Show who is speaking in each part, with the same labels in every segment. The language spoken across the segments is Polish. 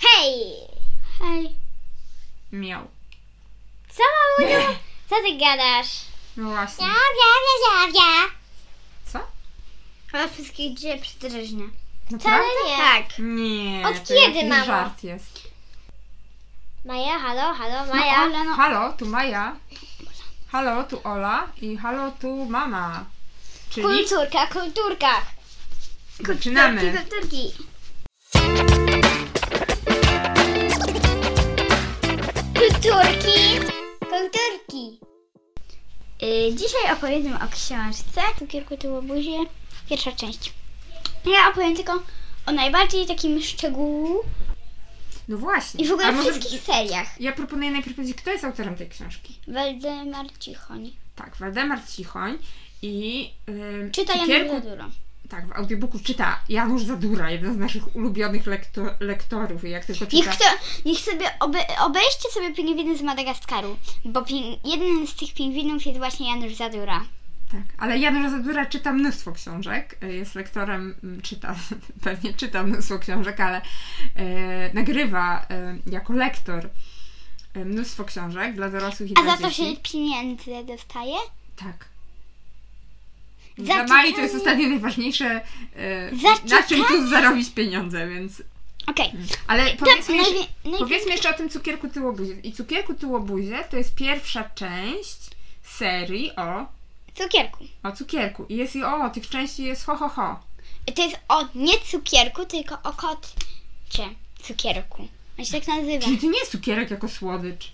Speaker 1: Hej!
Speaker 2: Hej.
Speaker 3: Miał.
Speaker 1: Co mamusiu? Co ty gadasz?
Speaker 3: No właśnie.
Speaker 1: ja, ja, ja, ja.
Speaker 3: Co?
Speaker 2: Chyba wszystkich dzisiaj przydrażnia.
Speaker 1: Wcale
Speaker 3: Naprawdę?
Speaker 1: nie.
Speaker 2: Tak.
Speaker 3: Nie.
Speaker 1: Od
Speaker 3: to
Speaker 1: kiedy,
Speaker 3: jakiś
Speaker 1: mamo?
Speaker 3: żart jest.
Speaker 1: Maja, halo, halo, Maja.
Speaker 2: No, ale no.
Speaker 3: Halo, tu Maja. Halo, tu Ola. I halo, tu mama. Czyli
Speaker 1: Kulturka, kulturka.
Speaker 3: zaczynamy.
Speaker 2: Kulturki, kulturki.
Speaker 1: Kulturki. Kulturki.
Speaker 2: Y, dzisiaj opowiemy o książce Cukierku tu buzie. Pierwsza część. Ja opowiem tylko o najbardziej takim szczegółu
Speaker 3: No właśnie.
Speaker 2: i w
Speaker 3: A
Speaker 2: ogóle
Speaker 3: może-
Speaker 2: wszystkich seriach.
Speaker 3: Ja proponuję najpierw powiedzieć, kto jest autorem tej książki.
Speaker 2: Waldemar Cichoń.
Speaker 3: Tak, Waldemar Cichoń i yy,
Speaker 2: Czyta Jan Zaduro.
Speaker 3: Tak, w audiobooku czyta Janusz Zadura, jeden z naszych ulubionych lekto- lektorów. I jak tylko
Speaker 2: Niech,
Speaker 3: czyta...
Speaker 2: kto, niech sobie obe, obejście sobie pingwiny z Madagaskaru, bo ping, jeden z tych pingwinów jest właśnie Janusz Zadura.
Speaker 3: Tak, ale Janusz Zadura czyta mnóstwo książek, y, jest lektorem, mm, czyta, pewnie czyta mnóstwo książek, ale e, nagrywa e, jako lektor e, mnóstwo książek dla dorosłych i
Speaker 2: A
Speaker 3: dla
Speaker 2: za to się
Speaker 3: dzieci.
Speaker 2: pieniędzy dostaje?
Speaker 3: Tak.
Speaker 2: Za
Speaker 3: Dla Mai to jest
Speaker 2: czytanie-
Speaker 3: ostatnio najważniejsze, e,
Speaker 2: Za
Speaker 3: na czym
Speaker 2: czytanie-
Speaker 3: tu zarobić pieniądze, więc...
Speaker 2: Okej. Tak,
Speaker 3: Ale powiedzmy, jeszcze,
Speaker 2: najwi- najwi-
Speaker 3: powiedzmy jeszcze o tym cukierku tyłobuzie. I cukierku tyłobuzie to jest pierwsza część serii o,
Speaker 2: Cukierku.
Speaker 3: o cukierku. I jest i o, tych części jest ho, ho, ho.
Speaker 2: To jest o nie cukierku, tylko o kotcie cukierku. On się tak nazywa.
Speaker 3: Czyli to nie jest cukierek jako słodycz.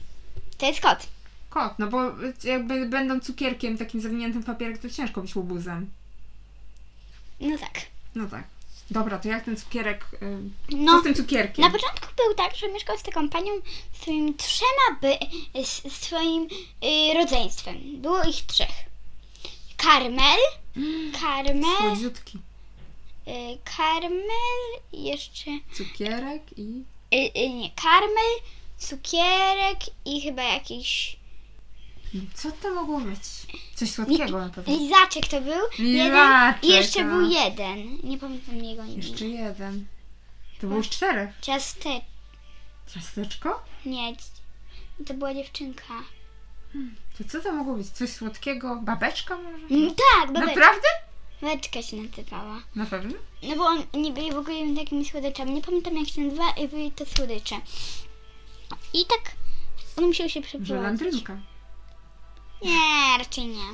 Speaker 2: To jest kot.
Speaker 3: Kot, no bo jakby będąc cukierkiem takim zawiniętym w papierek, to ciężko być łobuzem.
Speaker 2: No tak.
Speaker 3: No tak. Dobra, to jak ten cukierek... y, Co
Speaker 2: No.
Speaker 3: z tym cukierkiem?
Speaker 2: Na początku był tak, że mieszkał z taką panią z swoimi trzema by, z z swoim y, rodzeństwem. Było ich trzech. Karmel, Mm. Karmel,
Speaker 3: Słodziutki.
Speaker 2: y, Karmel i jeszcze
Speaker 3: Cukierek i...
Speaker 2: y, y, nie, Karmel, cukierek i chyba jakiś
Speaker 3: Co to mogło być? Coś słodkiego na pewno.
Speaker 2: lizaczek to był. Jeden,
Speaker 3: Lizaczek,
Speaker 2: I jeszcze
Speaker 3: tak.
Speaker 2: był jeden. Nie pamiętam jego imienia.
Speaker 3: Jeszcze jeden. To było już czterech.
Speaker 2: Ciasteczko.
Speaker 3: Ciasteczko?
Speaker 2: Nie, to była dziewczynka.
Speaker 3: To co to mogło być? Coś słodkiego? Babeczka może?
Speaker 2: Mm, Tak, babeczka.
Speaker 3: Naprawdę?
Speaker 2: babeczka się nazywała.
Speaker 3: Na pewno?
Speaker 2: No bo on nie byli w ogóle takimi słodyczami. Nie pamiętam jak się nazywa i byli to słodycze. I tak on musiał się przeprowadzić.
Speaker 3: Żelandrynka.
Speaker 2: Nie, raczej nie.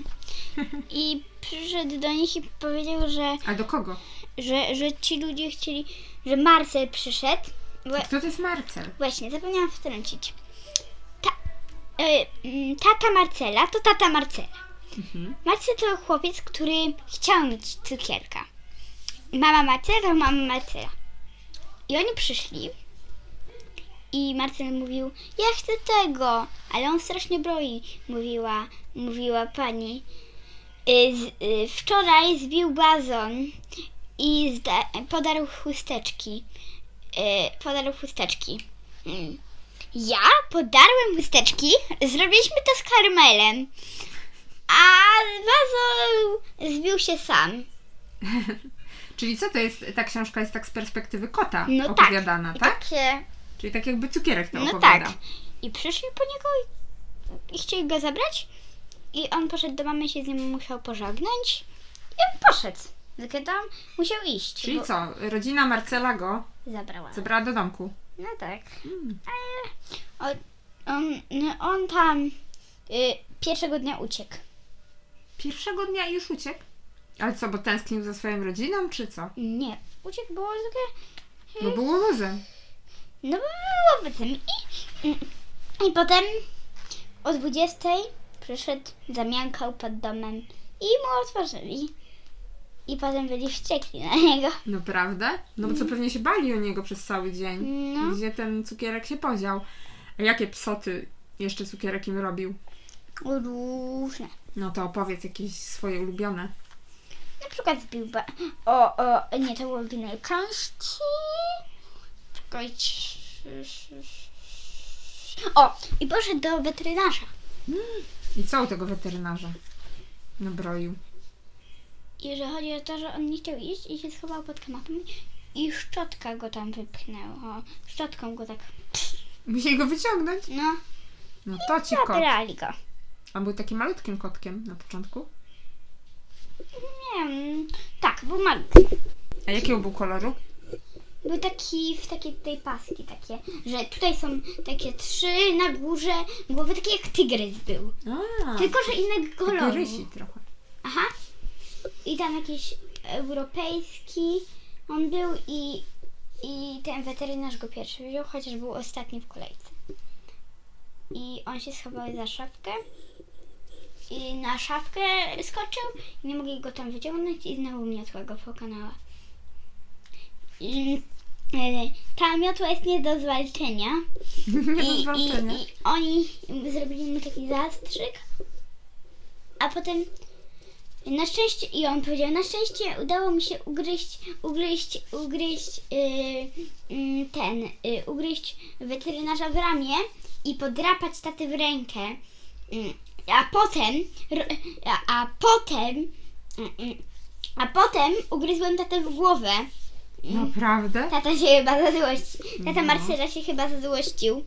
Speaker 2: I przyszedł do nich i powiedział, że,
Speaker 3: A do kogo?
Speaker 2: że, że ci ludzie chcieli, że Marcel przyszedł. Bo
Speaker 3: Kto to jest Marcel?
Speaker 2: Właśnie, zapomniałam wtrącić. Ta, y, mm, tata Marcela to tata Marcela. Marcel to chłopiec, który chciał mieć cukierka. Mama Marcela to mama Marcela. I oni przyszli i Marcel mówił, ja chcę tego, ale on strasznie broi, mówiła, mówiła pani. Y, z, y, wczoraj zbił bazon i zda, podarł chusteczki. Y, podarł chusteczki. Mm. Ja podarłem chusteczki, zrobiliśmy to z karmelem. A wazon zbił się sam.
Speaker 3: Czyli co to jest? Ta książka jest tak z perspektywy kota
Speaker 2: No tak.
Speaker 3: opowiadana,
Speaker 2: I
Speaker 3: tak?
Speaker 2: Takie,
Speaker 3: Czyli tak jakby cukierek to
Speaker 2: no
Speaker 3: opowiada.
Speaker 2: tak. I przyszli po niego i, i chcieli go zabrać. I on poszedł do mamy, się z nim musiał pożegnać. I on poszedł. Tylko tam musiał iść.
Speaker 3: Czyli
Speaker 2: bo
Speaker 3: co? Rodzina Marcela go
Speaker 2: Zabrała.
Speaker 3: zabrała do domku.
Speaker 2: No tak.
Speaker 3: Hmm.
Speaker 2: Ale on, on, on tam y, pierwszego dnia uciekł.
Speaker 3: Pierwszego dnia i już uciekł. Ale co, bo tęsknił za swoją rodziną, czy co?
Speaker 2: Nie, uciekł, bo zwykle
Speaker 3: Bo było luzem.
Speaker 2: No było by tym. I, I potem o 20 przyszedł, zamiankał pod domem i mu otworzyli. I potem byli wściekli na niego.
Speaker 3: No prawda? No bo co pewnie się bali o niego przez cały dzień.
Speaker 2: Mm. No.
Speaker 3: Gdzie ten cukierek się podział. A jakie psoty jeszcze cukierek im robił?
Speaker 2: Różne.
Speaker 3: No to opowiedz jakieś swoje ulubione.
Speaker 2: Na przykład zbił ba- o, o, nie, to było w innej części. Czekajcie. O, i poszedł do weterynarza.
Speaker 3: I co u tego weterynarza? Nabroił.
Speaker 2: I że chodzi o to, że on nie chciał iść i się schował pod kanapą i szczotka go tam wypchnęła. Szczotką go tak,
Speaker 3: Musieli go wyciągnąć.
Speaker 2: no,
Speaker 3: No to ci kot.
Speaker 2: zabrali go.
Speaker 3: On był takim malutkim kotkiem na początku.
Speaker 2: Nie wiem, tak, był malutki.
Speaker 3: A jakiego był koloru?
Speaker 2: Był taki, w takie tej paski takie, że tutaj są takie trzy na górze głowy, takie jak tygrys był.
Speaker 3: A,
Speaker 2: Tylko, że innego koloru.
Speaker 3: rysi trochę.
Speaker 2: Aha. I tam jakiś europejski on był i, i ten weterynarz go pierwszy wziął, chociaż był ostatni w kolejce. I on się schował za szafkę. I na szafkę skoczył i nie mogli go tam wyciągnąć i znowu miotła go pokonała. I, e, ta miotła jest nie do zwalczenia.
Speaker 3: Nie do
Speaker 2: I, i,
Speaker 3: zwalczenia.
Speaker 2: I oni zrobili mu taki zastrzyk, a potem na szczęście, i on powiedział, na szczęście udało mi się ugryźć, ugryźć, ugryźć yy, mm, ten, yy, ugryźć weterynarza w ramię i podrapać tatę w rękę. Mm, a potem, ro- a, a potem, mm, mm, a potem ugryzłem tatę w głowę.
Speaker 3: Naprawdę?
Speaker 2: Tata się chyba zazłościł.
Speaker 3: No.
Speaker 2: Tata Marcela się chyba zazłościł.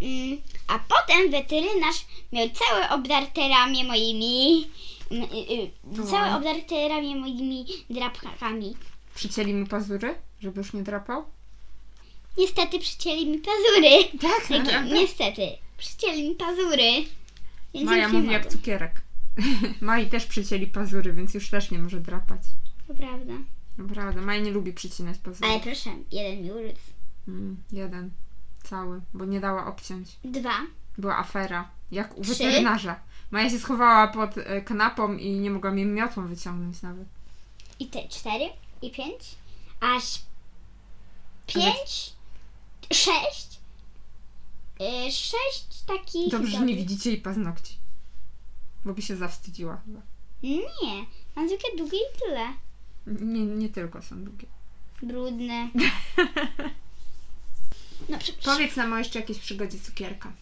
Speaker 2: Mm, A potem weterynarz miał całe obdarte ramię moimi. mm, y, y,
Speaker 3: No.
Speaker 2: Całe obdarte ramię moimi drapkami.
Speaker 3: Przycięli mu pazury, żeby już nie drapał?
Speaker 2: Niestety przycięli mi pazury.
Speaker 3: Tak,
Speaker 2: Takie,
Speaker 3: naprawdę?
Speaker 2: niestety. Przycięli mi pazury. Więc
Speaker 3: Maja
Speaker 2: już nie
Speaker 3: mówi
Speaker 2: mogę.
Speaker 3: jak cukierek. Mai też przycięli pazury, więc już też nie może drapać.
Speaker 2: To prawda.
Speaker 3: Naprawdę, Maja nie lubi przycinać
Speaker 2: Ale
Speaker 3: pazurów.
Speaker 2: proszę, jeden mi urósł.
Speaker 3: Mm, jeden. Cały, bo nie dała obciąć.
Speaker 2: Dwa.
Speaker 3: Była afera. Jak u
Speaker 2: Trzy?
Speaker 3: weterynarza. Maja się schowała pod e, kanapą i nie mogła mi miotłą wyciągnąć nawet.
Speaker 2: I te cztery. I pięć. Aż pięć. Sześć. y, Sześć takich.
Speaker 3: Dobrze, że nie
Speaker 2: dobrych.
Speaker 3: widzicie jej paznokci. Bo by się zawstydziła chyba.
Speaker 2: Nie, mam zwykle długie i tyle.
Speaker 3: Nie, nie tylko są długie.
Speaker 2: Brudne. No przepraszam.
Speaker 3: Powiedz nam o jeszcze jakiejś przygodzie cukierka.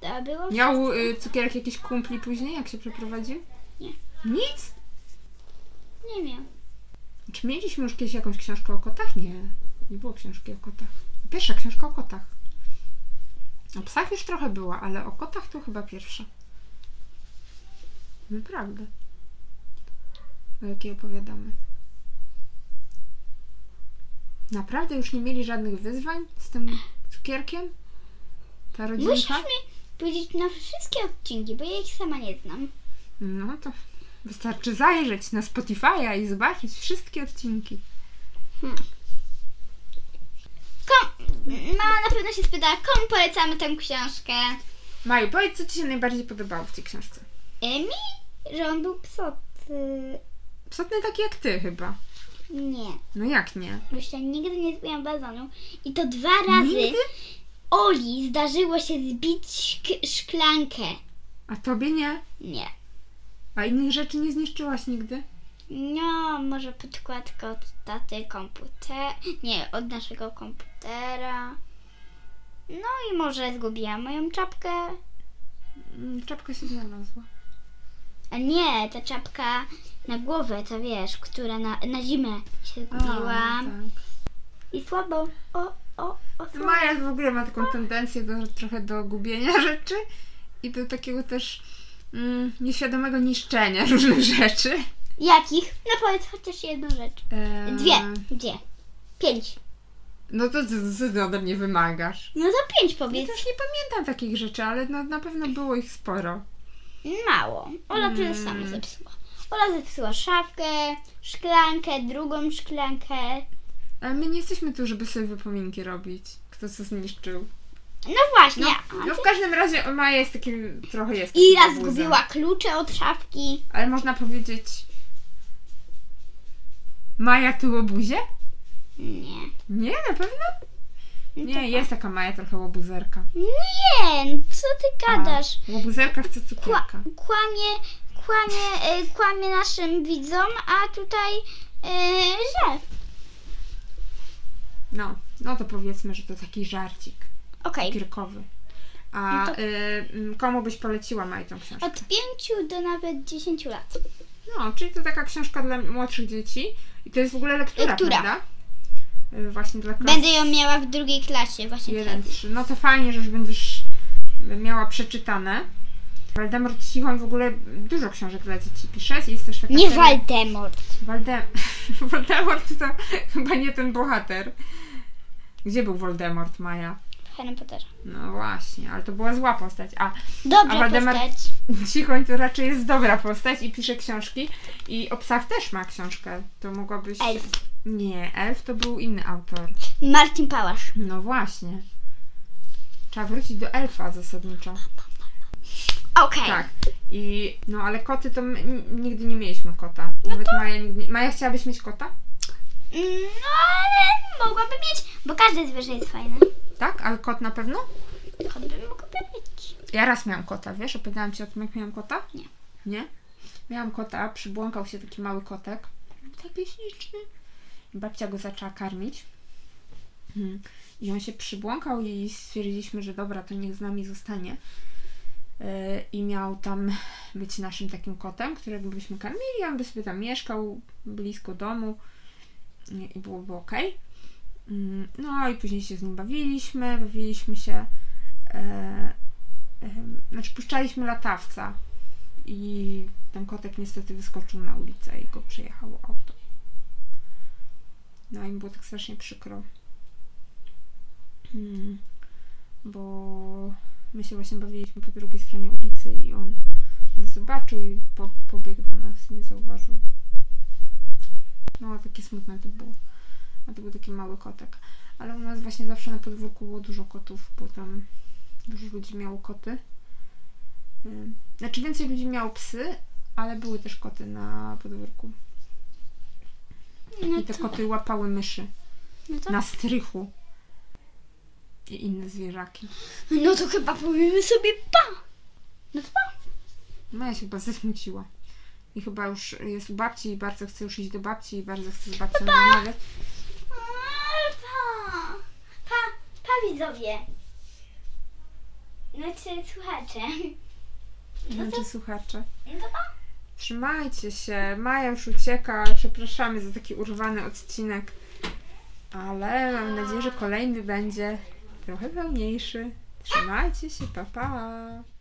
Speaker 2: To było.
Speaker 3: Miał y, cukierek jakiś kumpli później, jak się przeprowadził?
Speaker 2: Nie.
Speaker 3: Nic?
Speaker 2: Nie miał.
Speaker 3: Czy mieliśmy już kiedyś jakąś książkę o kotach? Nie. Nie było książki o kotach. Pierwsza książka o kotach. O psach już trochę była, ale o kotach to chyba pierwsza. Naprawdę. O jakiej opowiadamy. Naprawdę już nie mieli żadnych wyzwań z tym cukierkiem? Ta
Speaker 2: Musisz
Speaker 3: rodzinka?
Speaker 2: mi powiedzieć na wszystkie odcinki, bo ja ich sama nie znam.
Speaker 3: No to wystarczy zajrzeć na Spotify'a i zobaczyć wszystkie odcinki.
Speaker 2: Kom... Mama na pewno się spyta, komu polecamy tę książkę.
Speaker 3: Maju, powiedz, co Ci się najbardziej podobało w tej książce?
Speaker 2: Y, Mi, że on był psoty.
Speaker 3: Psotny taki jak Ty chyba.
Speaker 2: Nie.
Speaker 3: No jak nie?
Speaker 2: Myślę, nigdy nie zbiłam bazonu. I to dwa razy
Speaker 3: Nigdy?
Speaker 2: Oli zdarzyło się zbić szk- szklankę.
Speaker 3: A tobie nie?
Speaker 2: Nie.
Speaker 3: A innych rzeczy nie zniszczyłaś nigdy?
Speaker 2: No, może podkładka od taty komputer... Nie, od naszego komputera. No i może zgubiłam moją czapkę.
Speaker 3: Mm, Czapka się znalazła.
Speaker 2: A nie, ta czapka na głowę, to wiesz, która na, na zimę się zgubiła.
Speaker 3: tak. No,
Speaker 2: I słabo. O, o, o, słabo.
Speaker 3: Maja w ogóle ma taką tendencję do, trochę do gubienia rzeczy i do takiego też mm, nieświadomego niszczenia różnych rzeczy.
Speaker 2: Jakich? No powiedz chociaż jedną rzecz.
Speaker 3: E,
Speaker 2: Dwie. Dwie. Pięć.
Speaker 3: No to co- co ty ode mnie wymagasz?
Speaker 2: No to pięć
Speaker 3: Ja
Speaker 2: powiedz.
Speaker 3: też nie pamiętam takich rzeczy, ale no, na pewno było ich sporo.
Speaker 2: Mało. Ola tyle samo zepsuła. Ola zepsuła szafkę, szklankę, drugą szklankę.
Speaker 3: Ale E, my nie jesteśmy tu, żeby sobie wypominki robić, kto co zniszczył.
Speaker 2: No właśnie. a
Speaker 3: No
Speaker 2: ty-
Speaker 3: w każdym razie o, Maja jest takim, trochę jest
Speaker 2: I
Speaker 3: takim
Speaker 2: raz
Speaker 3: abuzem.
Speaker 2: zgubiła klucze od szafki.
Speaker 3: Ale można powiedzieć. Maja tu łobuzie?
Speaker 2: Nie.
Speaker 3: Nie, na pewno?
Speaker 2: to
Speaker 3: Nie, jest taka Maja trochę łobuzerka.
Speaker 2: Nie, no co ty gadasz?
Speaker 3: A, Łobuzerka chce
Speaker 2: Kła,
Speaker 3: cukierka.
Speaker 2: kłamie, kłamie, y, kłamie naszym widzom, a tutaj y, że.
Speaker 3: No, no to powiedzmy, że to taki żarcik
Speaker 2: Okej.
Speaker 3: cukierkowy. A
Speaker 2: No to-
Speaker 3: y, mm, komu byś poleciła Maj tą książkę?
Speaker 2: Od pięciu do nawet dziesięciu lat.
Speaker 3: No, czyli to taka książka dla młodszych dzieci I to jest w ogóle lektura,
Speaker 2: Lektura.
Speaker 3: prawda? Y, Właśnie dla klas
Speaker 2: Będę ją miała w drugiej klasie, właśnie.
Speaker 3: 1,
Speaker 2: teraz.
Speaker 3: 3. No to fajnie, że już będziesz miała przeczytane. Waldemar Cichoń w ogóle dużo książek dla dzieci pisze. Jest też taka
Speaker 2: Nie
Speaker 3: seria-
Speaker 2: Waldemort.
Speaker 3: Waldem... Voldemort to chyba nie ten bohater. Gdzie był Voldemort, Maja?
Speaker 2: Harry Potter.
Speaker 3: No właśnie, ale to była zła postać. A A
Speaker 2: Dobra
Speaker 3: Waldemar-
Speaker 2: postać.
Speaker 3: Cichoń to raczej jest dobra postać i pisze książki. I o psach też ma książkę. To mogłabyś...
Speaker 2: Elf.
Speaker 3: Nie, Elf to był inny autor.
Speaker 2: Marcin Pałasz.
Speaker 3: No właśnie. Trzeba wrócić do Elfa zasadniczo.
Speaker 2: Okej.
Speaker 3: Tak. I, no ale koty to my n- nigdy nie mieliśmy kota. Nawet Maja nigdy nie... Maja, chciałabyś mieć kota?
Speaker 2: Mm, No ale mogłabym mieć, bo każde zwierzę jest fajne.
Speaker 3: Tak? Ale kot na pewno?
Speaker 2: Kot bym mogła mieć.
Speaker 3: Ja raz miałam kota, wiesz? Opowiadałam Ci o tym, jak miałam kota?
Speaker 2: Nie.
Speaker 3: Nie? Miałam kota, przybłąkał się taki mały kotek. Taki śliczny. I Babcia go zaczęła karmić. Mm. I on się przybłąkał i stwierdziliśmy, że dobra, to niech z nami zostanie. Yy, I miał tam być naszym takim kotem, którego byśmy karmili, on by sobie tam mieszkał blisko domu Yy, i byłoby okej. Mm, No i później się z nim bawiliśmy, bawiliśmy się. E, em, znaczy puszczaliśmy latawca i ten kotek niestety wyskoczył na ulicę i go przejechało auto. No i mi było tak strasznie przykro. Mm, Bo my się właśnie bawiliśmy po drugiej stronie ulicy i on nas zobaczył i po, pobiegł do nas, nie zauważył. No, takie smutne to było. A to był taki mały kotek. Ale u nas właśnie zawsze na podwórku było dużo kotów, bo tam dużo ludzi miało koty. Ym, Znaczy więcej ludzi miało psy, ale były też koty na podwórku.
Speaker 2: No
Speaker 3: I te
Speaker 2: to,
Speaker 3: koty łapały myszy
Speaker 2: no, to,
Speaker 3: na strychu i inne zwierzaki.
Speaker 2: no to chyba powiemy sobie pa. No to pa.
Speaker 3: No ja się chyba zasmuciła. I chyba już jest u babci i bardzo chcę już iść do babci i bardzo chcę z babcią rozmawiać.
Speaker 2: Pa. Pa, pa widzowie. Znaczy słuchacze.
Speaker 3: Znaczy słuchacze.
Speaker 2: No to pa.
Speaker 3: Trzymajcie się. Maja już ucieka. Przepraszamy za taki urwany odcinek. Ale mam nadzieję, że kolejny będzie trochę pełniejszy. Trzymajcie się. Pa, pa.